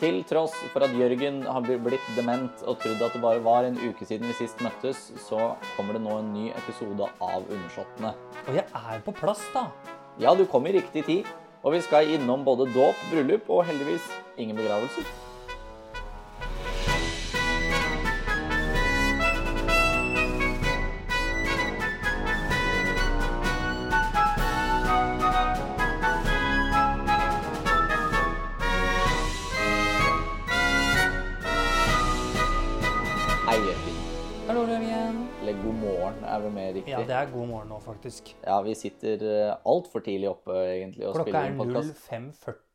Til tross for at Jørgen har blitt dement og trodd at det bare var en uke siden vi sist møttes, så kommer det nå en ny episode av Undersåttene. Og jeg er på plass, da. Ja, du kom i riktig tid, og vi skal innom både dåp, bryllup og heldigvis ingen begravelser. Hei, Jørgen. Hallo, Jørgen. Eller god morgen, er vel mer riktig. Ja, det er god morgen nå, faktisk. Ja, vi sitter altfor tidlig oppe egentlig og Klokka spiller er en podkast.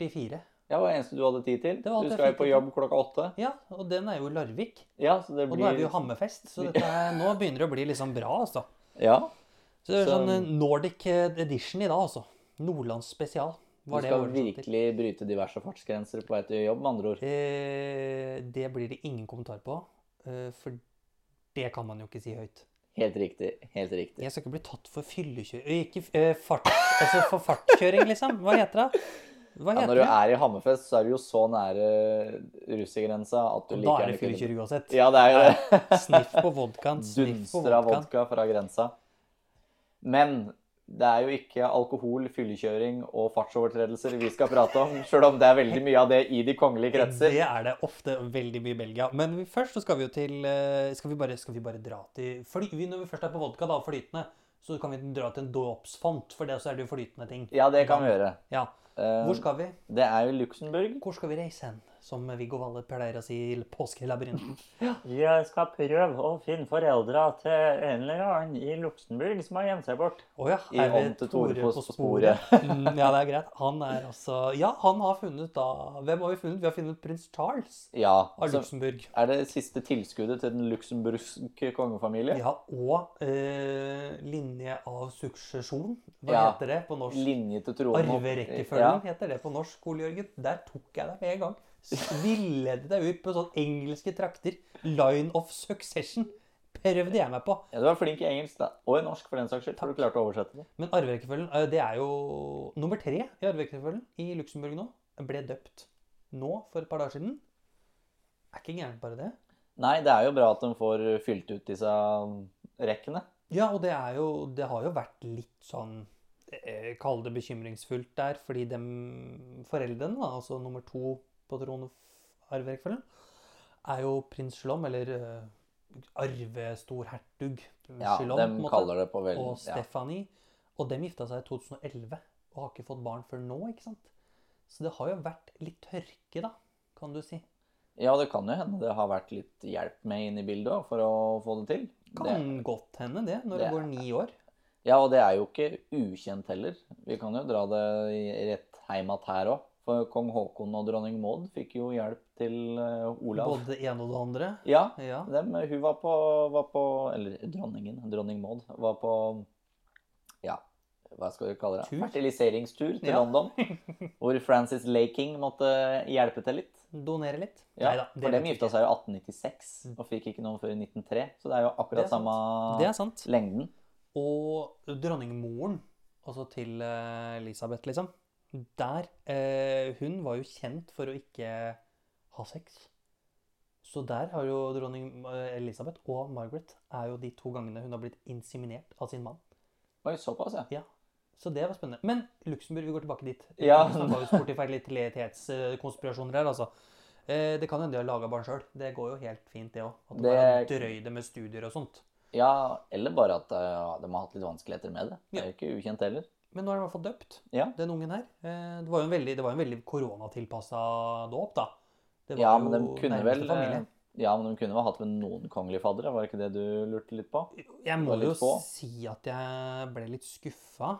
05.44. Ja, det var det eneste du hadde tid til. Det var Du alt jeg skal jo fikk på tid jobb klokka åtte. Ja, og den er jo Larvik. Ja, så det Og blir nå er vi jo Hammerfest, så dette er, nå begynner det å bli liksom bra, altså. Ja. Så det er Så- sånn eh, Nordic edition i dag, altså. Nordlands spesial. Du Var det skal oversatt til. virkelig bryte diverse fartsgrenser på vei til jobb, med andre ord. Eh, det blir det ingen kommentar på, eh, for det kan man jo ikke si høyt. Helt riktig. Helt riktig. Jeg skal ikke bli tatt for fyllekjøring Ikke eh, fart... Altså for fartkjøring, liksom. Hva heter det? Hva Ja, heter når du det? er i Hammerfest, så er du jo så nære russergrensa at du liker Og da er gjerne det kunne- fyllekjøring uansett. Ja, det er jo det. Sniff på vodkaen. Sniff på Dunster av vodkaen. vodka fra grensa. Men det er jo ikke alkohol, fyllekjøring og fartsovertredelser vi skal prate om, sjøl om det er veldig mye av det i de kongelige kretser. Det er det ofte veldig mye i Belgia. Men vi, først så skal vi jo til eh, Skal vi bare, skal vi bare dra til fly, vi- Når vi først er på vodka, da, flytende, så kan vi dra til en dåpsfont, for det så er det jo flytende ting. Ja, det kan vi gjøre. Ja. Eh, Hvor skal vi? Det er jo Luxembourg. Hvor skal vi reise hen? Som Viggo Valle pleier å si i Påskelabyrinten. Jeg skal prøve å finne foreldra til en eller annen i Luxembourg som har gjemt seg bort. Å ja, I her er hånd til Tore på sporet. Mm, ja, det er greit. Han er altså Ja, han har funnet da Hvem har vi funnet? Vi har funnet prins Charles Ja. av Så Luxembourg. er det siste tilskuddet til den luxemburgske kongefamilie? Ja, og eh, linje av suksesjon. Hva Ja. heter det på norsk? Linje til tronen. og- Arverekkefølgen heter det på norsk, Ole Jørgen. Der tok jeg deg med en gang. Villedde deg ut på sånn engelske trakter. Line of succession prøvde jeg meg på. Ja. ja, Du var flink i engelsk, da. Og i norsk, for den saks skyld. For du klarte å oversette det. Men arverekkefølgen, eh, det er jo nummer tre i arverekkefølgen i Luxembourg nå. Ble døpt nå for et par dager siden. Er ikke gærent bare det. Nei, det er jo bra at de får eh, fylt ut disse um, rekkene. Ja, og det er jo Det har jo vært litt sånn eh, Kall det bekymringsfullt der, fordi dem foreldrene, da, altså nummer to på tronarverekkefølgen, er jo prins Shalom, eller eh, arvestor hertug Ja, Shalom, på en de måte, kaller det på vel og ja. Stephanie. Og dem gifta seg i 2011, og har ikke fått barn før nå, ikke sant? Så det har jo vært litt tørke, da, kan du si. ja, det kan jo hende det har vært litt hjelp med inn i bildet også, for å få det til. Det, Kan godt hende det, når det, det- går ni år. ja, og det er jo ikke ukjent heller. Vi kan jo dra det i- rett hjem att her òg. For kong Haakon og dronning Maud fikk jo hjelp til eh, Olav. Både det ene og det andre. Ja, Ja. Dem, hun var på, var på Eller dronningen, dronning Maud, var på Ja, hva skal vi kalle det? Tur? Fertiliseringstur til Ja. London. Hvor Frances Laking måtte hjelpe til litt. Donere litt. Ja, Neida, det for vet dem vi gifta ikke. Mm. seg jo 1896 og fikk ikke noen før i 1903. Så det er jo akkurat Det er sant. samme Det er sant. lengden. Og dronningmoren, altså til eh, Elisabeth, liksom Der eh, Hun var jo kjent for å ikke ha sex. Så der har jo dronning eh, Elisabeth og Margaret er jo de to gangene hun har blitt inseminert av sin mann. Oi, såpass, ja. Så det var spennende. Men Luxembourg, vi går tilbake dit. Ja. Vi snakka jo sport i fertilitetskonspirasjoner her, altså. Eh, det kan hende de har laga barn sjøl. Det går jo helt fint, det òg. At det bare er Det- drøy det med studier og sånt. ja. Eller bare at eh, de har hatt litt vanskeligheter med det. Det Ja. er jo ikke ukjent heller. Men nå er den i hvert fall døpt, Ja. den ungen her. Eh, Det var jo en veldig, det var jo en veldig koronatilpassa dåp, da. Det var Ja, men de jo kunne nærmeste vel eh, familie. Ja, men de kunne vel hatt med noen kongelige faddere, var det ikke det du lurte litt på? Jeg var må litt jo få. si at jeg ble litt skuffa.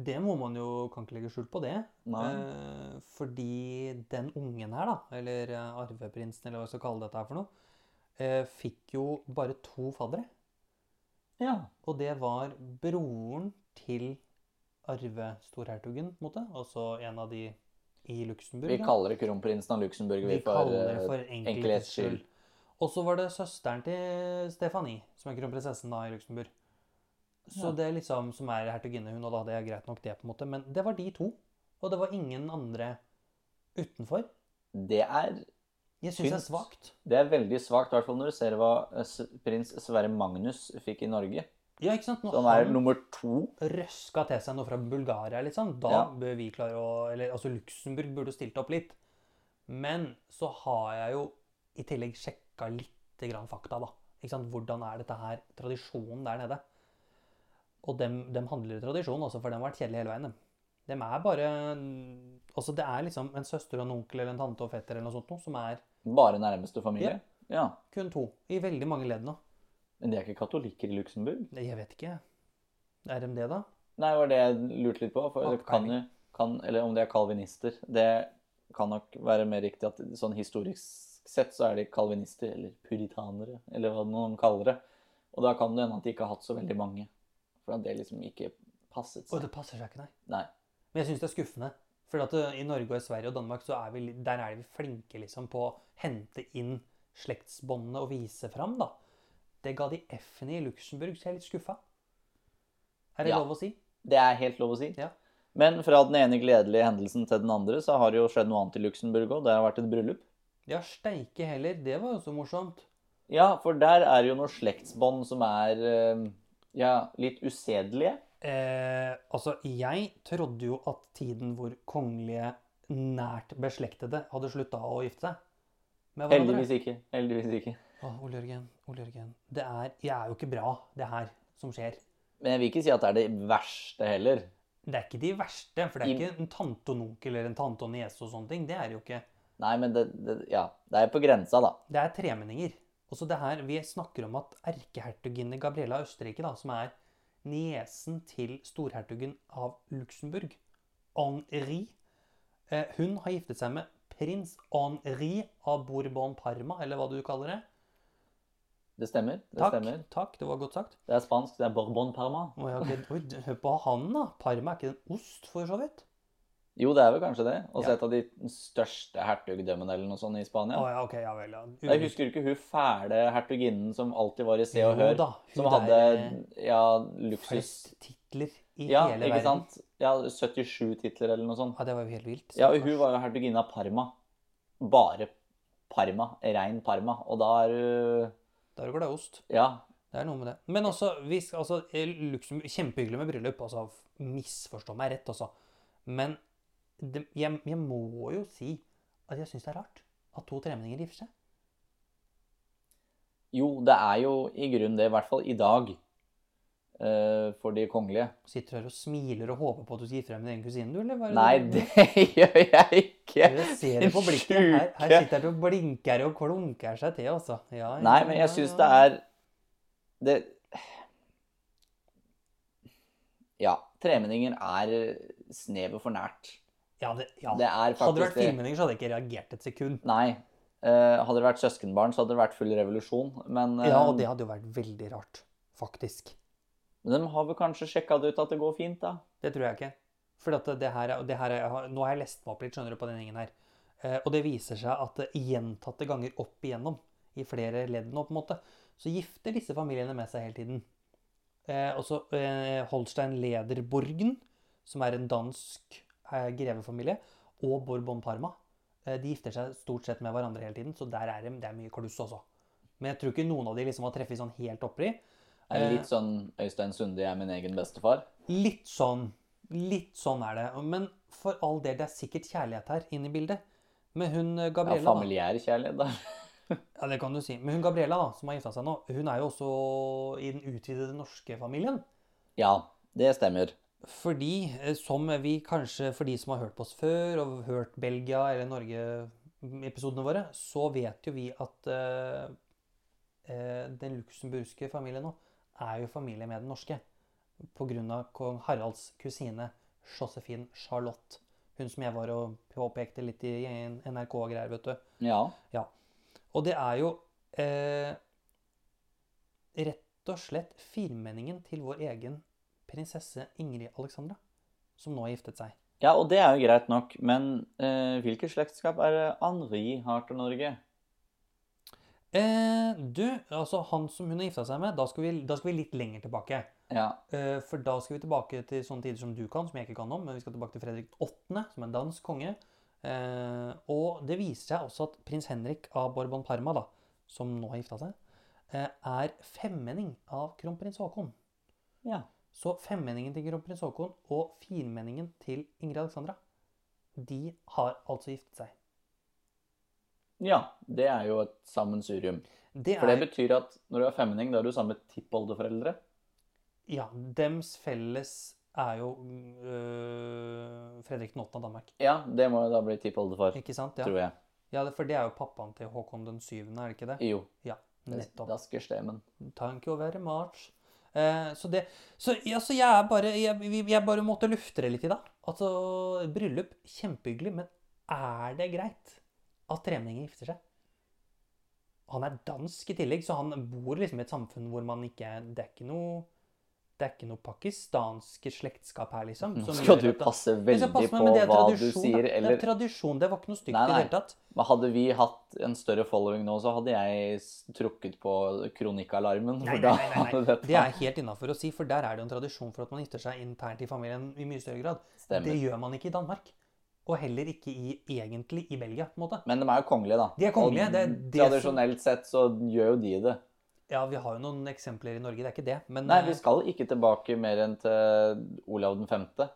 Det må man jo kan ikke legge skjul på, det. Nei. Eh, Fordi den ungen her, da, eller eh, arveprinsen, eller hva vi skal kalle dette her for noe, eh, fikk jo bare to faddere. Ja. Og det var broren til arvestorhertugen, på en måte. Altså en av de i Luxembourg. Vi da. kaller det kronprinsen av Luxembourg vi Vi for, kaller det eh, for enkelhets enkelhets skyld. skyld. Og så var det søsteren til Stefanie, som er kronprinsessen da i Luxembourg. Så Ja. det er liksom, som er hertuginne hun, og da hadde jeg greit nok det, på en måte. Men det var de to. Og det var ingen andre utenfor det er Jeg syns det er Syns. svakt. Det er veldig svakt, i hvert fall når du ser hva eh, s- prins Sverre Magnus fikk i Norge. Ja, ikke sant? Når Så han er han nummer to. røska til seg noe fra Bulgaria, liksom, da Ja. bør vi klare å Eller altså, Luxembourg burde stilt opp litt. Men så har jeg jo i tillegg sjekka litt grann fakta, da. Ikke sant? Hvordan er dette her tradisjonen der nede? Og dem, dem handler i tradisjon, altså, for den har vært kjedelig hele veien. dem. Dem er bare Altså, det er liksom en søster og en onkel eller en tante og fetter eller noe sånt noe, som er Bare nærmeste familie. Ja. kun to. I veldig mange ledd nå. Men de er ikke katolikker i Luxembourg? Nei, Jeg vet ikke. Er de det, da? Nei, det var det jeg lurte litt på. For det kan jo kan, Eller om de er kalvinister. Det kan nok være mer riktig at sånn historisk sett så er de kalvinister, eller puritanere, eller hva noen kaller det. Og da kan det hende at de ikke har hatt så veldig mange. For at det liksom ikke passet Å, seg. det passer seg ikke, nei. Nei. Men jeg syns det er skuffende. For at eh, i Norge og i Sverige og Danmark så er vi, li- der er vi flinke liksom på å hente inn slektsbåndene og vise fram, da. Det ga de F-en i i Luxembourg, så jeg er litt skuffa. Er det Ja. lov å si? Det er helt lov å si. Ja. Men fra den ene gledelige hendelsen til den andre, så har det jo skjedd noe annet i Luxembourg òg. Det har vært et bryllup. Ja, steike heller. Det var jo så morsomt. Ja, for der er det jo noen slektsbånd som er eh, ja, litt usedelige. Eh, altså, jeg trodde jo at tiden hvor kongelige nært beslektede hadde slutta å gifte seg med hverandre Heldigvis ikke. Heldigvis ikke. Åh, Ole Jørgen, Ole Jørgen. Det er, jeg er jo ikke bra, det her som skjer. Men jeg vil ikke si at det er det verste heller. Det er ikke de verste, for det I- er ikke en tante og en onkel eller en tante og en niese og sånne ting. Det er det jo ikke. Nei, men det, det, ja, det er på grensa, da. Det er tremenninger. Og så det her, Vi snakker om at erkehertuginne Gabriella av Østerrike, da, som er niesen til storhertugen av Luxembourg, Henri eh, Hun har giftet seg med prins Henri av Bourbon-Parma, eller hva du kaller det. Det stemmer. Det Takk, Mm. stemmer. takk, det var godt sagt. Det er spansk. Det er Bourbon Parma. Å, ja, ok. Oi, d- hør på han, da. Parma er ikke en ost, for så vidt? Jo, det er vel kanskje det. Også Ja. et av de største hertugdømmene eller noe sånt i Å Spania. ja, ok, ja vel. Ja. Jeg husker ikke hun fæle hertuginnen som alltid var i Se og Jo Hør. da, hun som hadde der, eh, ja, luksus. flest titler i Ja, hele ikke verden. sant? Ja, 77 titler eller noe sånt. Ja, det var jo helt vilt. Ja, og stakkars. hun var jo hertuginne av Parma. Bare Parma. Rein Parma. Og da er hun Da er du glad i ost. Ja. Det er noe med det. Men også, vi skal, altså, eh, Luxembourg- kjempehyggelig med bryllup. altså, f- Misforstå meg rett, altså. Men det, jeg, jeg må jo si at jeg syns det er rart at to tremenninger gifter seg. Jo, det er jo i grunnen det, i hvert fall i dag, eh, for de kongelige. Sitter du her og smiler og håper på at du skal gifte deg med din egen kusine, du, eller? hva er Nei, det, det gjør jeg ikke. Jeg ser det på blikket. Her, her Sjuke. sitter du og blinker og klunker seg til, altså. Ja, ja, Nei, men ja, jeg syns ja. det er Det Ja. Tremenninger er snevet for nært. ja, det, ja. Det er Hadde det vært faktisk det. filmmelding, så hadde jeg ikke reagert et sekund. Nei. eh, hadde det vært søskenbarn, så hadde det vært full revolusjon. Men, eh, Ja, og det hadde jo vært veldig rart, faktisk. men de har vel kanskje sjekka det ut at det går fint, da. Det tror jeg ikke. For at det her, er- det her er, nå har jeg lest meg opp litt, skjønner du, på den gjengen her. Eh, og det viser seg at det gjentatte ganger opp igjennom, i flere ledd nå på en måte, så gifter disse familiene med seg hele tiden. Eh, og så eh, Holstein Lederborgen, som er en dansk eh, grevefamilie, og Bourbon Parma. Eh, de gifter seg stort sett med hverandre hele tiden, så der er det, det er mye kluss også. Men jeg tror ikke noen av de liksom har treffet sånn helt oppi. Er det Eh. litt sånn Øystein Sunde, jeg er min egen bestefar. Litt sånn. Litt sånn er det. Men for all del, det er sikkert kjærlighet her inne i bildet. Men hun eh, Ja, Gabriella, da, familiær kjærlighet, da. ja, det kan du si. Men hun Gabriella da, som har gifta seg nå, hun er jo også i den utvidede norske familien. Ja, det stemmer. Fordi, eh, som vi kanskje, for de som har hørt på oss før, og hørt Belgia eller Norge-episodene våre, så vet jo vi at eh, eh, den luxemburgske familien nå er jo familie med den norske. På grunn av kong Haralds kusine Josefine Charlotte. Hun som jeg var og påpekte litt i en NRK-greier, vet du. Ja. Og det er jo eh, rett og slett firmenningen til vår egen prinsesse Ingrid Alexandra, som nå har giftet seg. Ja, og det er jo greit nok, men eh, hvilket slektskap er det Henri har til Norge? Eh, du, altså han som hun har gifta seg med, da skal vi, da skal vi litt lenger tilbake. Ja, Eh, for da skal vi tilbake til sånne tider som du kan, som jeg ikke kan om, men vi skal tilbake til Fredrik 8., som er en dansk konge. Eh, og det viser seg også at prins Henrik av Bourbon Parma, da, som nå har gifta seg, eh, er femmenning av kronprins Haakon. Ja. Så femmenningen til kronprins Haakon og firmenningen til Ingrid Alexandra, de har altså giftet seg. Ja, det er jo et sammensurium. Det For det er betyr at når du er femning, da er du samme tippoldeforeldre. Ja, dems felles er jo øh, Fredrik den 8. av Danmark. Ja, det må jo da bli tippoldefar, Ikke sant? Ja. tror jeg. ja, det- for det er jo pappaen til Håkon den 7., er det ikke det? Jo, Ja, nettopp. daskerstemen. Thank you very much. Eh, så det Så, ja, så jeg er bare jeg, vi- jeg bare måtte lufte det litt i dag. Altså, bryllup, kjempehyggelig, men er det greit at tremenninger gifter seg? Han er dansk i tillegg, så han bor liksom i et samfunn hvor man ikke Det er ikke noe Det er ikke noe pakistanske slektskap her, liksom. Nå som skal gjør du at- passe Jeg skal veldig passe på meg, men det er hva du tradisjon, da. sier, eller Det er tradisjon. Det var ikke noe stygt Nei, i nei. det hele tatt. Men Hadde vi hatt en større following nå, så hadde jeg s- trukket på kronikkalarmen. Nei, For nei, da nei, nei, hadde nei. Det dette er helt innafor å si, for der er det jo en tradisjon for at man gifter seg internt i familien i mye større grad. Det stemmer. gjør man ikke i Danmark. Og heller ikke i, egentlig i Belgia, på en måte. Men de er jo kongelige, da. De er kongelige, det er det Og tradisjonelt sett så gjør jo de det. Ja, vi har jo noen eksempler i Norge, det er ikke det. Men Nei, eh, vi skal ikke tilbake mer enn til Olav den femte.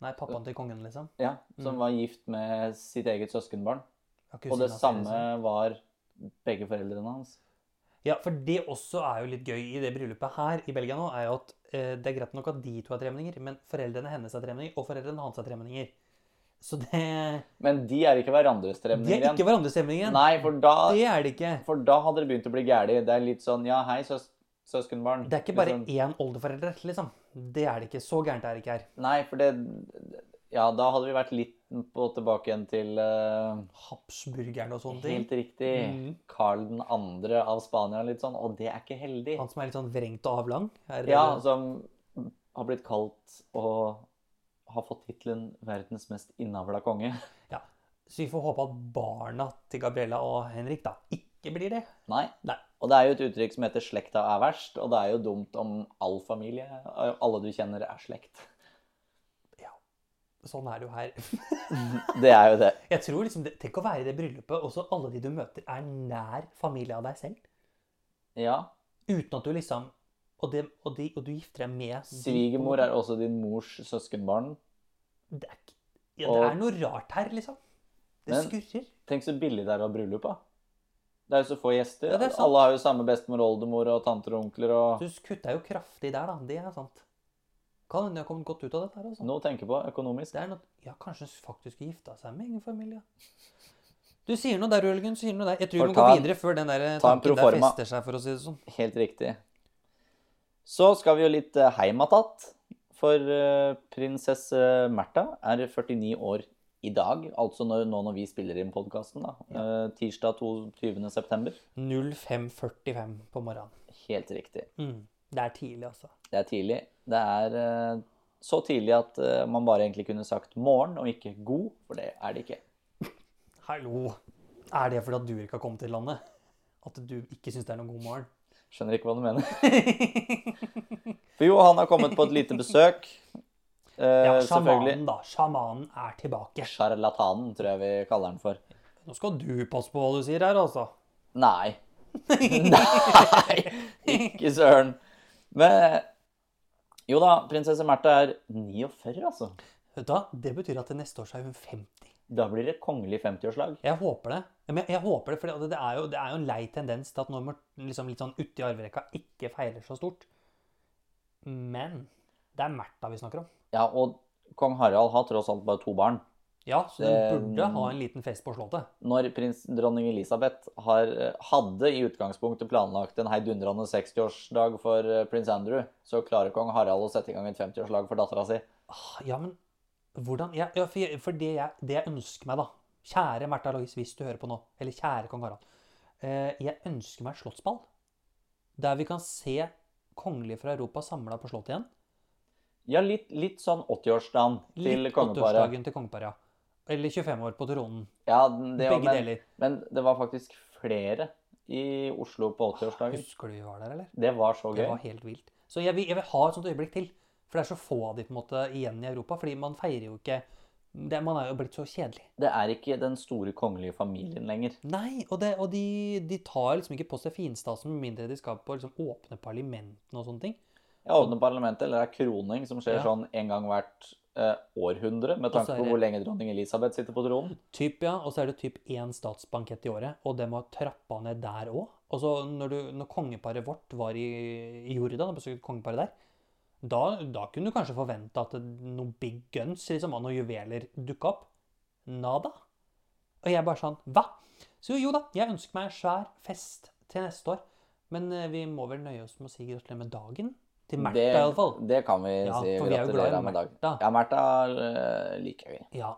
nei pappaen til kongen, liksom. Ja, som Mm. var gift med sitt eget søskenbarn. Ja, Og det kusina si, samme liksom. var begge foreldrene hans. Ja, for det også er jo litt gøy i det bryllupet her i Belgia nå, er jo at eh, det er greit nok at de to er tremenninger, men foreldrene hennes er tremenninger, og foreldrene hans er tremenninger. Så det Men de er ikke hverandres De tremninger er ikke hverandres tremenninger. Nei, for da, Det er det ikke. for da hadde det begynt å bli gæli. Det er litt sånn ja, hei, søs søskenbarn. Det er ikke bare Liksom. én oldeforelder, liksom. Det er det ikke. Så gærent er det ikke her. Nei, for det Ja, da hadde vi vært litt på tilbake igjen til eh, Habsburgerne og sånne ting. Helt riktig. Mhm. Karl den andre av Spania, litt sånn. Og det er ikke heldig. Han som er litt sånn vrengt og avlang. Er det- Ja, altså. som har blitt kalt og har fått tittelen 'verdens mest innavla konge'. Så vi får håpe at barna til Gabriella og Henrik da ikke blir det. Nei. Nei. Og det er jo et uttrykk som heter 'slekta er verst', og det er jo dumt om all familie, eh, alle du kjenner, er slekt. Sånn er det jo her. Det er jo det. Jeg tror liksom, det, Tenk å være i det bryllupet, og så alle de du møter, er nær familie av deg selv. Ja. Uten at du liksom Og, det, og, de, og du gifter deg med de- Svigermor er også din mors søskenbarn. Det er, ikke- ja, det Og- er noe rart her, liksom. Det Men- skurrer. Tenk så billig det er å ha bryllup, da. Det er jo så få gjester. Ja, det er sant. Alle har jo samme bestemor, oldemor og tanter og onkler og Du kutta jo kraftig der, da. Det er sant. Kan hende jeg har kommet godt ut av dette her, altså. Noe å tenke på økonomisk. Det er noe, ja, kanskje hun faktisk skulle gifta seg med egen familie. Du sier noe der, Jørgen. Sier noe der. Jeg tror Bare vi må gå ta en- videre før den der eh, ta en tanken der proforma. fester seg, for å si det sånn. Helt riktig. Så skal vi jo litt eh, heim att. For eh, prinsesse Märtha er 49 år i dag. Altså når, nå når vi spiller inn podkasten, da. Eh, Tirsdag 22. september. 05.45 på morgenen. Helt riktig. Mm. Det er tidlig, altså. Det er tidlig. Det er eh, så tidlig at eh, man bare egentlig kunne sagt morgen og ikke god, for det er det ikke. Hallo. Er det fordi at du ikke har kommet til landet? At du ikke syns det er noen god morgen? Skjønner ikke hva du mener. For jo, han har kommet på et lite besøk. Eh, Ja, selvfølgelig. sjamanen, da. Sjamanen er tilbake. Sjarlatanen, tror jeg vi kaller han for. Nå skal du passe på hva du sier her, altså. Nei. Nei! Ikke søren. Men jo da, prinsesse Märtha er 49, altså. Vet du hva? Det betyr at til neste år så er hun 50. Da blir det kongelig 50-årslag. Jeg håper det. Ja, Men jeg håper det, for det er jo, det er jo en lei tendens til at når man liksom litt sånn uti arverekka ikke feirer så stort. Men det er Märtha vi snakker om. Ja, og kong Harald har tross alt bare to barn. Ja, så den Det- burde ha en liten fest på Slottet. Når prins dronning Elisabeth har, eh, hadde i utgangspunktet planlagt en heidundrende 60-årsdag for eh, prins Andrew, så klarer kong Harald å sette i gang et 50-årslag for dattera si. Ah, Ja, men hvordan ja, ja, For, jeg, for det, jeg, det jeg ønsker meg, da Kjære Märtha Louise, hvis du hører på nå. Eller kjære kong Harald. Eh, jeg ønsker meg slottsball. Der vi kan se kongelige fra Europa samla på Slottet igjen. Ja, litt, litt sånn 80-årsdagen til Litt kongeparet. åtteårsdagen til kongeparet, ja. Eller 25 år på tronen. Ja, det, Begge men, deler. men det var faktisk flere i Oslo på 80-årsdagen. Husker du vi var der, eller? Det var så gøy. Det var helt vilt. Så jeg vil, jeg vil ha et sånt øyeblikk til. For det er så få av de på en måte igjen i Europa. Fordi man feirer jo ikke det, Man er jo blitt så kjedelig. Det er ikke den store kongelige familien lenger. Nei, og, det, og de, de tar liksom ikke på seg finstasen med mindre de skal på liksom åpne parlamentene og sånne ting. Ja, åpne parlamentet, eller det er kroning, som skjer Ja. sånn en gang hvert eh, århundre, med Og så tanke er på det- hvor lenge dronning Elisabeth sitter på tronen. Typ, ja, Og så er det typ én statsbankett i året, og det må ha trappa ned der òg. Og så når, du, når kongeparet vårt var i, i Jordan og besøkte kongeparet der, da, da kunne du kanskje forvente at det- noen big guns liksom, og noen juveler dukka opp. Nada. Og jeg bare sånn Hva? Så jo, jo da, jeg ønsker meg en svær fest til neste år. Men eh, vi må vel nøye oss med å si gratulerer med dagen. Til Märtha, Det- iallfall. Det kan vi Ja, si. for vi er jo glad i gratulerer med dagen. Märtha. Ja, Märtha eh, liker vi. Ja.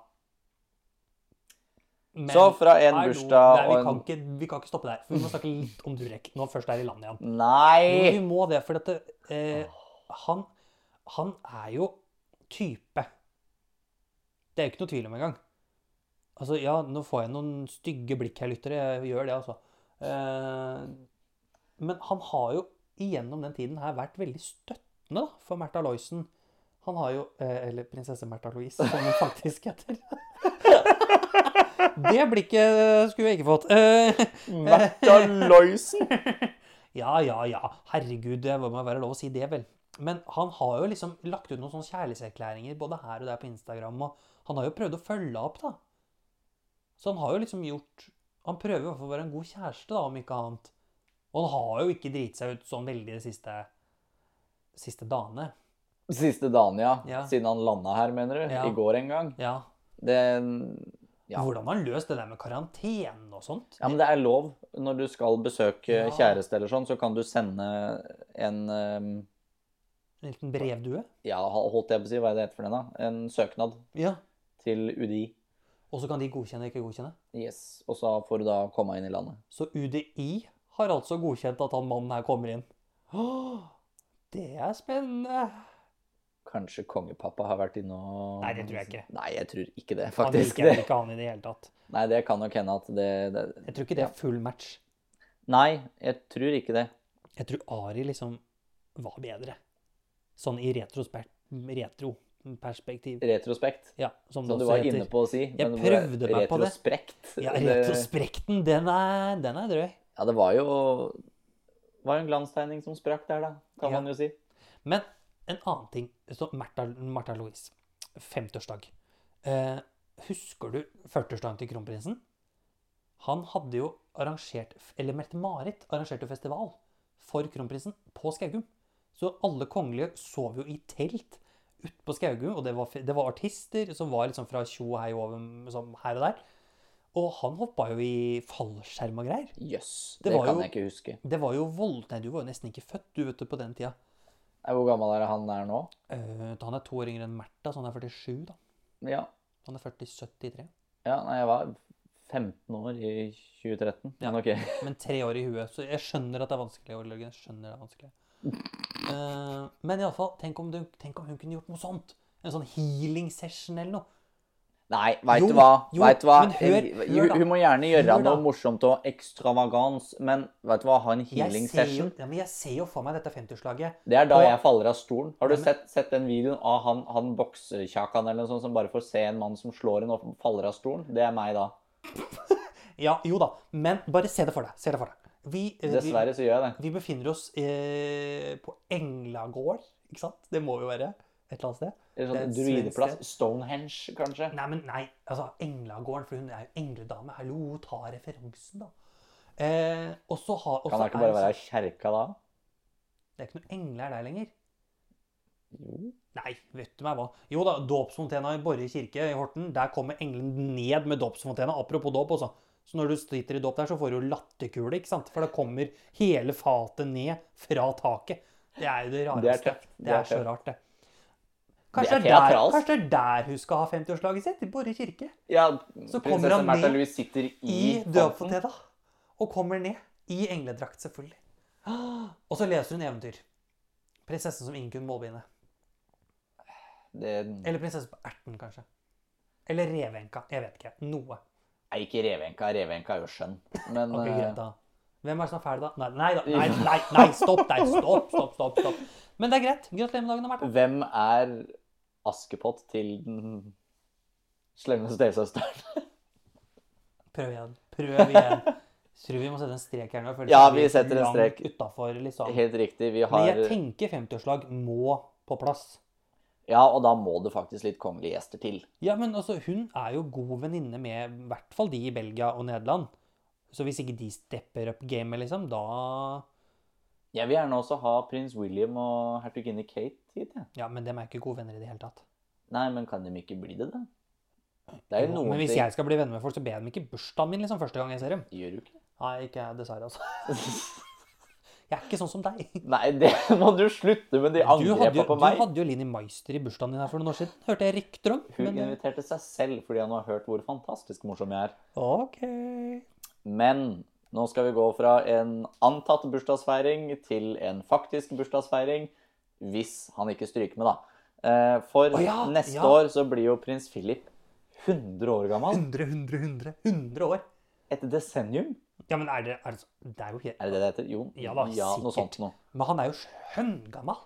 Men, Så fra en hallo, bursdag nei, og vi, en- kan ikke, vi kan ikke stoppe der. For vi må snakke litt om Durek når vi først er i landet igjen. Jo, vi Nei! må det, for dette eh, han, han er jo type. Det er jo ikke noe tvil om engang. Altså, ja, nå får jeg noen stygge blikk her, lyttere. Jeg gjør det, altså. Eh, men han har jo gjennom den tiden her vært veldig støttende da, for Märtha Loisen. Han har jo eh, Eller prinsesse Märtha Louise, som hun faktisk heter. det blikket skulle jeg ikke fått. Eh, Märtha Loisen! ja, ja, ja. Herregud, det må være lov å si det, vel. Men han har jo liksom lagt ut noen sånne kjærlighetserklæringer både her og der på Instagram, og han har jo prøvd å følge opp, da. Så han har jo liksom gjort Han prøver i hvert fall å være en god kjæreste, da, om ikke annet. Og han har jo ikke driti seg ut sånn veldig de siste, siste dagene. Siste dagen, ja. Ja. Siden han landa her, mener du? Ja. I går en gang. Ja. Det, Ja. Hvordan har han løst det der med karantene og sånt? ja, men det er lov. Når du skal besøke Ja. kjæreste eller sånn, så kan du sende en eh, En liten brevdue? Ja, holdt jeg på å si, hva er det heter for den, da? En søknad Ja. til UDI. Og så kan de godkjenne eller ikke godkjenne? Yes. Og så får du da komme inn i landet. Så UDI har altså godkjent at han mannen her kommer inn. Åh, det er spennende. Kanskje kongepappa har vært inne og Nei, det tror jeg ikke. Nei, jeg tror ikke det, Han faktisk. liker vel ikke han i det hele tatt. Det. Nei, det kan nok hende at det, det Jeg tror ikke det er full match. Nei, jeg tror ikke det. Jeg tror Ari liksom var bedre. Sånn i retrosper- retroperspektiv. Retrospekt, Ja, som det som du også var heter. inne på å si. Jeg men hvor er- prøvde meg på det. Retrospekt. Ja, det- retrospekten, den er, den er drøy. Ja, det var jo var jo en glanstegning som sprakk der, da, kan Ja. man jo si. Men en annen ting. Så Martha, Martha Louise. 50-årsdag. Eh, husker du 40-årsdagen til kronprinsen? Han hadde jo arrangert Eller Mette-Marit arrangerte jo festival for kronprinsen på Skaugum. Så alle kongelige sov jo i telt ute på Skaugum, og det var, det var artister som var liksom fra tjo og hei over sånn her og der. Og han hoppa jo i fallskjerm og greier. Jøss, Det det, var kan jo- jeg ikke huske. Det var jo vold... Nei, du var jo nesten ikke født, du, vet du, på den tida. Nei, Hvor gammel er han er nå? Eh, han er to år yngre enn Märtha, så han er 47, da. Ja, Han er 40-73. ja nei, jeg var 15 år i 2013. Ja. Men ok. Men tre år i huet, så jeg skjønner at det er vanskelig. Ole Jørgen, jeg skjønner det er vanskelig. Uh, men iallfall, tenk, om du- tenk om hun kunne gjort noe sånt. En sånn healing session eller noe. Nei, veit Jo, du hva? jo, vet du hva? men hør- Jeg- hør da. hun må gjerne gjøre Hør da. noe morsomt og ekstravagans, men veit du hva? Ha en healing Jeg ser, jo, session. ja, men jeg ser jo for meg dette 50-årslaget. Det er da Og- jeg faller av stolen. Har du Nei, men- sett, sett den videoen av han, han boksekjakan eller noe sånt som bare får se en mann som slår en og faller av stolen? Det er meg da. Ja, jo da, men bare se det for deg. Se det for deg. Vi, eh, vi, Dessverre så gjør jeg det. vi befinner oss eh, på Englagård, ikke sant? Det må jo være et eller annet sted. Eller Det er sånn et svensk druideplass. Stonehenge, kanskje. Nei, men nei, altså Englagården, for hun er jo engledame. Hallo, ta referansen, da. Eh, og så har og Kan så det ikke bare er være altså- kjerka da? Det er ikke noen engler der lenger. Jo. Nei, vet du meg hva. Jo da, dåpsfontena i Borre kirke i Horten, der kommer engelen ned med dåpsfontena. Apropos dåp, altså. Så når du sitter i dåp der, så får du latterkule, ikke sant? For da kommer hele fatet ned fra taket. Det er jo det rareste. Det er tøft. Det Det er er så tøft. rart, det. Det Kanskje er det er, der, teatralsk. kanskje det er der hun skal ha 50-årslaget sitt? I Borre kirke? Ja, Så kommer prinsesse han Märtha ned Louise sitter i, i fonten. dødpoteta. Og kommer ned i engledrakt, selvfølgelig. Ah, Og så leser hun eventyr. 'Prinsessen som innkun målbinde'. Det Eller 'Prinsesse på erten', kanskje. Eller 'Revenka'. Jeg vet ikke. Noe. er ikke Revenka. Revenka er jo skjønn. Men Ok, eh, greit da. Hvem er det som er ferdig, da? Nei, nei, da. nei, nei, nei stopp! Nei, stopp, stopp, stopp, stopp. Men det eh, er greit. Gratulerer med dagen, Märtha. hvem er Askepott til den slemme stesøsteren. Prøv igjen. Prøv igjen. Tror vi må sette en strek her nå. for det Ja, blir vi setter en langt strek. Utenfor, liksom. Helt riktig. Vi Men har jeg tenker 50-årslag må på plass. Ja, og da må det faktisk litt kongelige gjester til. Ja, men altså, hun er jo god venninne med i hvert fall de i Belgia og Nederland. Så hvis ikke de stepper up gamet, liksom, da Jeg vil gjerne også ha prins William og hertuginne Kate hit. Jeg. Ja, men dem er ikke gode venner i det hele tatt. Nei, men kan de ikke bli det, da? Det er jo noen men hvis ting jeg skal bli venner med folk, så ber jeg dem ikke i bursdagen min liksom, første gang jeg ser dem. Gjør du ikke? Nei, ikke jeg, dessverre, altså. Jeg er ikke sånn som deg. Nei, det må du slutte med. De Du hadde, jo, angrepa på du meg. hadde jo Linni Meister i bursdagen din her for noen år siden. Hørte jeg rykter om. Hun Men, inviterte seg selv fordi han har hørt hvor fantastisk morsom jeg er. ok. Men nå skal vi gå fra en antatt bursdagsfeiring til en faktisk bursdagsfeiring. Hvis han ikke stryker med, da. Eh, For Å ja, neste ja. år så blir jo prins Philip 100 år gammel. 100, 100, 100, 100 år. Et desennium? Ja, men er det er det, så- det er jo helt Er det det det heter? Jo, Ja da, noe sikkert. sånt noe. Men han er jo skjønngammal.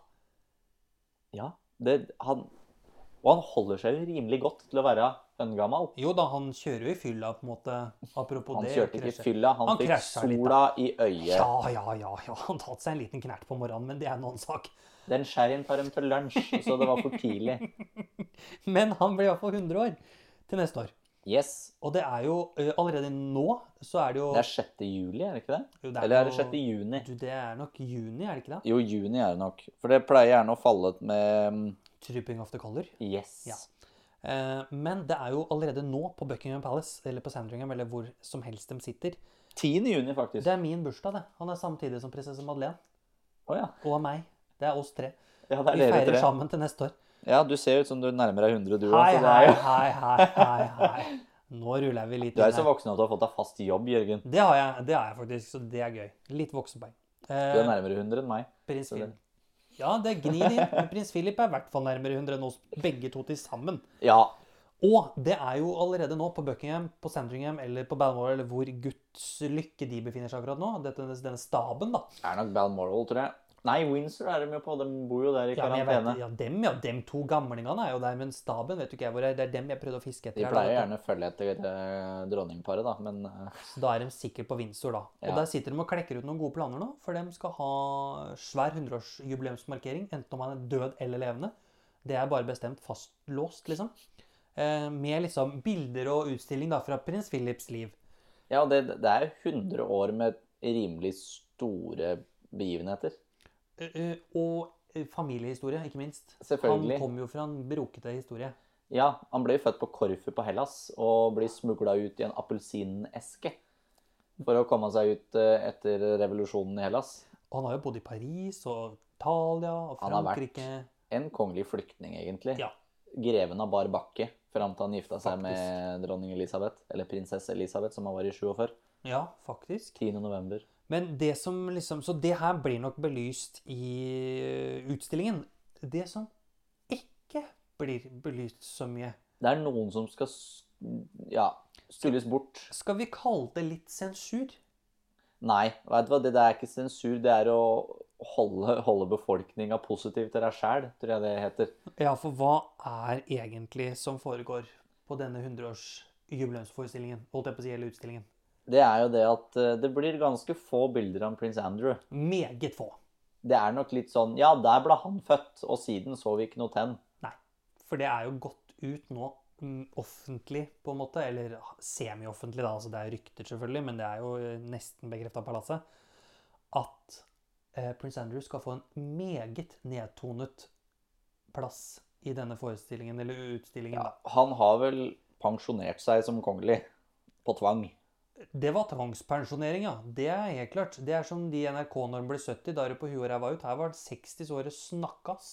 Ja, det, han, og han holder seg jo rimelig godt til å være høngammal. Jo da, han kjører jo i fylla, på en måte. Apropos Han det. kjørte ikke i krasjer. fylla, han, Han fikk krasja litt, sola i øyet. Ja, ja, ja, ja. Han tatt seg en liten knert på morgenen, men det er en annen sak. Den sherryen tar dem til lunsj, så det var for tidlig. Men han blir i hvert fall 100 år til neste år. Yes. Og det er jo ø, allerede nå, så er det jo Det er 6. juli, er det ikke det? jo, det Eller er det jo- 6. juni? Du, det er nok juni, er det ikke det? Jo, juni er det nok. For det pleier gjerne å falle ut med mm, Tripping of the color. yes. Ja. Eh, Men det er jo allerede nå på Buckingham Palace, eller på Sandringham, eller hvor som helst de sitter. 10. juni, faktisk. Det er min bursdag, det. Han er samtidig som prinsesse Madeleine. Å ja. Og meg. Det er oss tre. ja, det Vi er dere feirer tre. sammen til neste år. Ja, du ser ut som du nærmer deg 100, du Hei, også. hei, hei, hei, hei, hei. Nå ruller vi litt Du er jo så inn her. voksen at du har fått deg fast jobb, Jørgen. Det har jeg, det har jeg faktisk, så det er gøy. Litt voksenpoeng. Du er Eh, nærmere 100 enn meg. prins så det- Philip. Ja, det gnir inn. Men prins Philip er i hvert fall nærmere 100 enn oss begge to til sammen. Ja, Og det er jo allerede nå på Buckingham, på Sandringham eller på Balmoral, eller hvor Guds lykke de befinner seg akkurat nå, dette, denne staben, da. er nok Balmoral, tror jeg. Nei, Windsor er de jo på. De bor jo der i Ja, men jeg vet, karantene. ja, dem, ja, dem to gamlingene er jo der, men staben vet jo ikke jeg hvor er. Det er dem jeg prøvde å fiske etter. De her, da, pleier vet gjerne å følge etter eh, dronningparet, da, men eh, du. Så da er de sikkert på Windsor, da. Og Ja. der sitter de og klekker ut noen gode planer nå, for de skal ha svær 100-årsjubileumsmarkering, enten om han er død eller levende. Det er bare bestemt fastlåst, liksom. Eh, med liksom bilder og utstilling da, fra prins Philips liv. Ja, det, det er 100 år med rimelig store begivenheter. Eh, eh, Og eh, familiehistorie, ikke minst. Selvfølgelig. Han kom jo fra en brokete historie. Ja, han ble jo født på Korfu på Hellas og blir smugla ut i en appelsineske for å komme seg ut eh, etter revolusjonen i Hellas. Og han har jo bodd i Paris og Italia og Han har vært Frankrike. En kongelig flyktning, egentlig. Ja. Greven av bar bakke fram til han gifta seg Faktisk. med dronning Elisabeth, eller prinsesse Elisabeth, som han var i 47. Ja, faktisk. 10. november. Men det som liksom Så det her blir nok belyst i eh, utstillingen. Det som ikke blir belyst så mye, Det er noen som skal s- ja, skulles bort. skal vi kalle det litt sensur? Nei, vet du hva? det der er ikke sensur. Det er å holde, holde befolkninga positiv til deg sjæl, tror jeg det heter. Ja, for hva er egentlig som foregår på denne 100-årsjubileumsforestillingen? Holdt jeg på å si, eller utstillingen. Det er jo det at eh, det blir ganske få bilder av prins Andrew. Meget få. Det er nok litt sånn Ja, der ble han født, og siden så vi ikke noe tenn. For det er jo gått ut nå mm, offentlig, på en måte. Eller semioffentlig, da. Altså, det er rykter, selvfølgelig, men det er jo eh, nesten bekrefta av palasset. At eh, prins Andrew skal få en meget nedtonet plass i denne forestillingen, eller utstillingen. Ja, han har vel pensjonert seg som kongelig. På tvang. da. Det var tvangspensjonering, ja. Det er helt klart. Det er som de i NRK når de ble 70. Da er det på huet og ræva ut. Her var han 60 så det snakkas.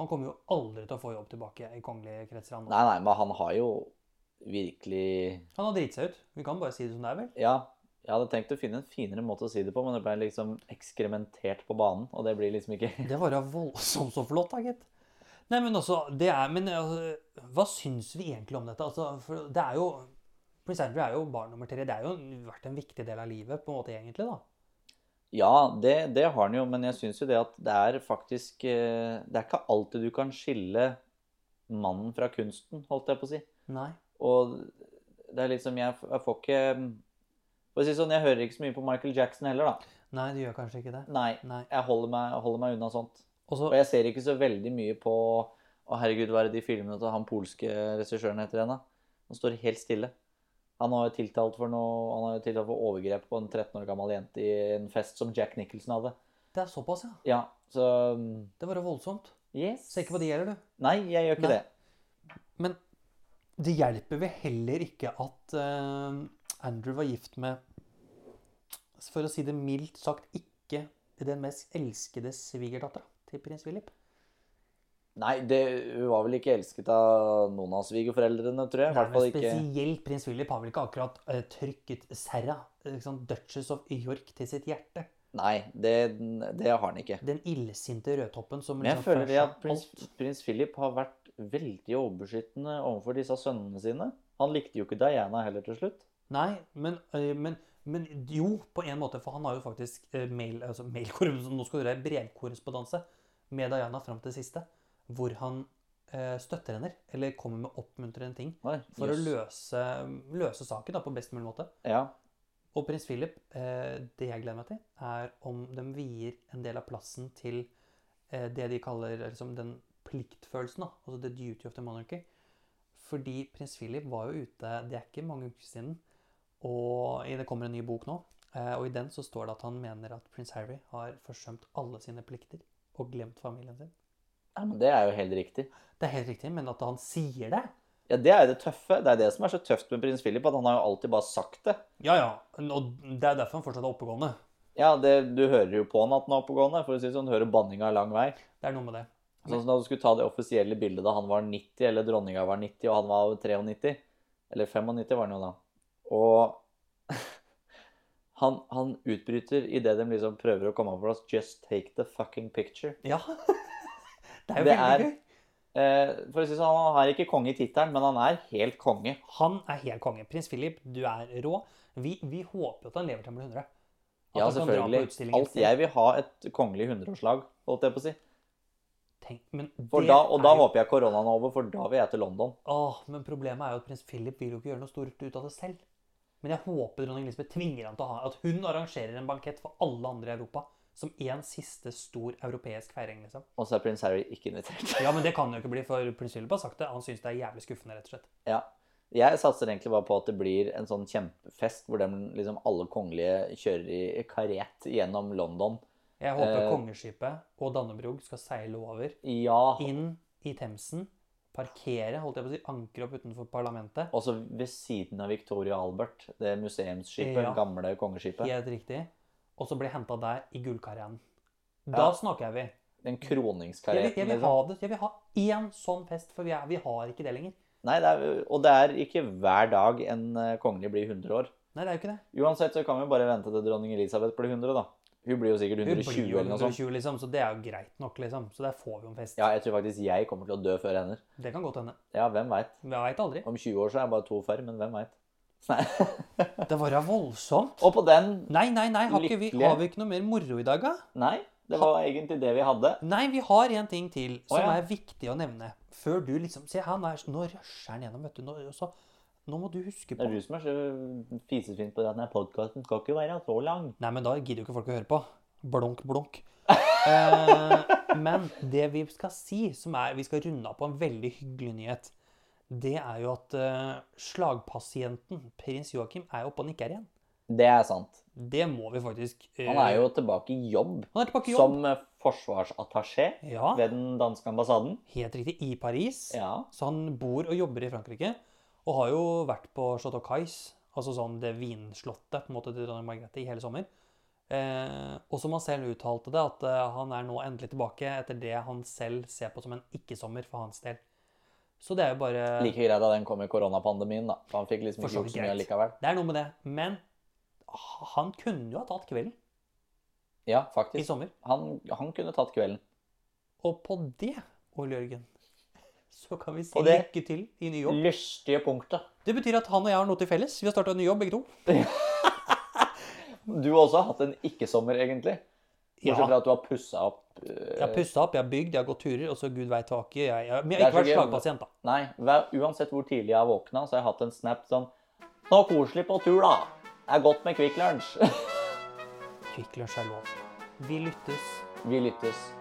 Han kommer jo aldri til å få jobb tilbake i kongelige kretser. han nå. Nei, nei, men han har jo virkelig Han har driti seg ut. Vi kan bare si det som det er, vel? Ja, jeg hadde tenkt å finne en finere måte å si det på, men det ble liksom ekskrementert på banen, og det blir liksom ikke Det var da voldsomt så flott, da, gitt. Nei, men altså, det er, men altså, hva syns vi egentlig om dette? Altså, for det er jo, Prince Andrew er jo barn nummer tre. Det er jo en- vært en viktig del av livet, på en måte, egentlig, da. Ja, det, det har han jo, men jeg syns jo det at det er faktisk eh, Det er ikke alltid du kan skille mannen fra kunsten, holdt jeg på å si. Nei. Og det er liksom Jeg, jeg får ikke For å si det sånn, jeg hører ikke så mye på Michael Jackson heller, da. Nei, det gjør kanskje ikke det. Nei. Nei. Jeg holder meg, jeg holder meg unna sånt. Og så Og jeg ser ikke så veldig mye på Å, herregud, hva er det de filmene til han polske regissøren heter igjen, da? Han står helt stille. Han har jo tiltalt for noe Han har jo tiltalt for overgrep på en 13 år gammel jente i en fest som Jack Nicholson hadde. Det er såpass, ja. Ja, så mm, Det var jo voldsomt. Yes. Ser ikke hva det gjelder, du. Nei, jeg gjør ikke Nei. det. Men det hjelper vel heller ikke at eh, Andrew var gift med For å si det mildt sagt ikke den mest elskede svigerdattera til prins Philip. Nei, det, hun var vel ikke elsket av noen av svigerforeldrene, tror jeg. I Nei, hvert men fall ikke Spesielt prins Philip har vel ikke akkurat eh, trykket Serra, eh, ikke sant, Duchess of York, til sitt hjerte. Nei, det, det har han ikke. Den illsinte rødtoppen som Men jeg liksom føler først det at har prins, alt- prins Philip har vært veldig overbeskyttende overfor disse sønnene sine. Han likte jo ikke Diana heller til slutt. Nei, men, øh, men, men jo, på en måte, for han har jo faktisk øh, mail, altså mailkorrespondanse, nå skal du høre, brevkorrespondanse med Diana fram til det siste, hvor han øh, støtter henne, eller kommer med oppmuntrende ting, Nei, for jøss. å løse, løse saken da, på best mulig måte. Ja, Og prins Philip, øh, det jeg gleder meg til, er om de vier en del av plassen til øh, det de kaller liksom, den pliktfølelsen, da, altså the duty of the monarchy. Fordi prins Philip var jo ute, det er ikke mange uker siden, og i- det kommer en ny bok nå. eh, Og i den så står det at han mener at prins Harry har forsømt alle sine plikter og glemt familien sin. ja, men det er jo helt riktig. Det er helt riktig, men at han sier det Ja, Det er jo det tøffe. Det er det som er så tøft med prins Philip, at han har jo alltid bare sagt det. Ja ja, og det er derfor han fortsatt er oppegående. Ja, det, Du hører jo på han at han er oppegående, for å si det sånn. Du hører banninga lang vei. Det er noe med det. Sånn som da du skulle ta det offisielle bildet da han var 90, eller dronninga var 90, og han var 93. Eller 95 var han jo da. Og han, han utbryter idet de liksom prøver å komme opp for oss 'Just take the fucking picture'. Ja. Det er jo Det veldig er- gøy. Eh, for å si det sånn, Han er ikke konge i tittelen, men han er helt konge. Han er helt konge. Prins Philip, du er rå. Vi, vi håper jo at han lever til han blir 100. At Ja, han kan dra på selvfølgelig. utstilling et Alt sted. jeg vil ha et kongelig hundreårslag, holdt jeg på å si. Tenk, men For det da, og da er jo- håper jeg koronaen er over, for da vil jeg til London. Åh, men problemet er jo at prins Philip vil jo ikke gjøre noe stort ut av det selv. Men jeg håper dronning Elisabeth tvinger han til å ha at hun arrangerer en bankett for alle andre i Europa. Som en siste stor europeisk feiring, liksom. Og så er prins Harry ikke invitert. Ja, men det kan det jo ikke bli, for prins Philip har sagt det. Han syns det er jævlig skuffende, rett og slett. Ja. Jeg satser egentlig bare på at det blir en sånn kjempefest hvor de, liksom, alle kongelige kjører i karett gjennom London. Jeg håper Eh. kongeskipet og Dannebrog skal seile over, Ja. inn i Themsen, parkere, holdt jeg på å si, ankre opp utenfor parlamentet. Og så ved siden av Victoria Albert, det museumsskipet, Ja. gamle kongeskipet. Helt riktig. Og så bli henta der i gullkarrieren. Da Ja. snakker jeg vi. Den Jeg vil, kroningskaretten. jeg vil ha liksom. det. Jeg vil ha én sånn fest, for vi, er, vi har ikke det lenger. liksom. Nei, det er, og det er ikke hver dag en eh, kongelig blir 100 år. Nei, det er jo ikke det. Uansett så kan vi bare vente til dronning Elisabeth blir 100, da. Hun blir jo sikkert Hun 120 blir jo eller noe sånt. 120, liksom, så det er jo greit nok, liksom. Så der får vi jo en fest. Ja, jeg tror faktisk jeg kommer til å dø før henne. Det kan godt hende. Ja, hvem veit. Vi veit aldri. Om 20 år så er jeg bare to færre, men hvem veit. Nei. Det var da voldsomt. Og på den Nei, nei, nei. Har, ikke vi, Lykkelig. har vi ikke noe mer moro i dag, da? Nei, det var egentlig det vi hadde. Nei, vi har en ting til som Å, ja. er viktig å nevne. Før du liksom Se, han er Nå rusher han gjennom, vet du. Nå, og så, nå må du huske Det på er du som er så fisefint på denne podkasten. Skal ikke være så lang. Nei, men da gidder jo ikke folk å høre på. Blunk, blunk. Eh, men det vi skal si, som er Vi skal runde av på en veldig hyggelig nyhet. Det er jo at eh, slagpasienten prins Joakim er oppe og nikker igjen. Det er sant. Det må vi faktisk eh, Han er jo tilbake i jobb han er tilbake i jobb. som eh, forsvarsattaché Ja, ved den danske ambassaden. helt riktig. I Paris. Ja. Så han bor og jobber i Frankrike. Og har jo vært på Chateau Cais, altså sånn det vinslottet på en måte til dronning Margrethe i hele sommer. Eh, og som han selv uttalte det, at eh, han er nå endelig tilbake etter det han selv ser på som en ikke-sommer for hans del. Så det er jo bare Like greit at den kom i koronapandemien, da. For han fikk liksom For ikke så gjort så mye greit. likevel. Det er noe med det. Men han kunne jo ha tatt kvelden Ja, i faktisk. sommer. Han, han kunne tatt kvelden. Og på det, Ole Jørgen, så kan vi si På det- lykke til i ny jobb. Lystige punktet. Det betyr at han og jeg har noe til felles. Vi har starta en ny jobb, begge to. Du har også hatt en ikke-sommer, egentlig. Bortsett fra at du har pussa opp Jeg har eh, pussa opp, jeg har bygd, jeg har gått turer, og så gud veit hva ikke jeg, jeg Men jeg Det er har ikke vært så gøy. slagpasient, da. Nei, hver, uansett hvor tidlig jeg har våkna, så har jeg hatt en snap sånn Nå koselig på tur, da. Det er godt med Kvikk Lunsj. Kvikk Lunsj er lov. Vi lyttes. Vi lyttes.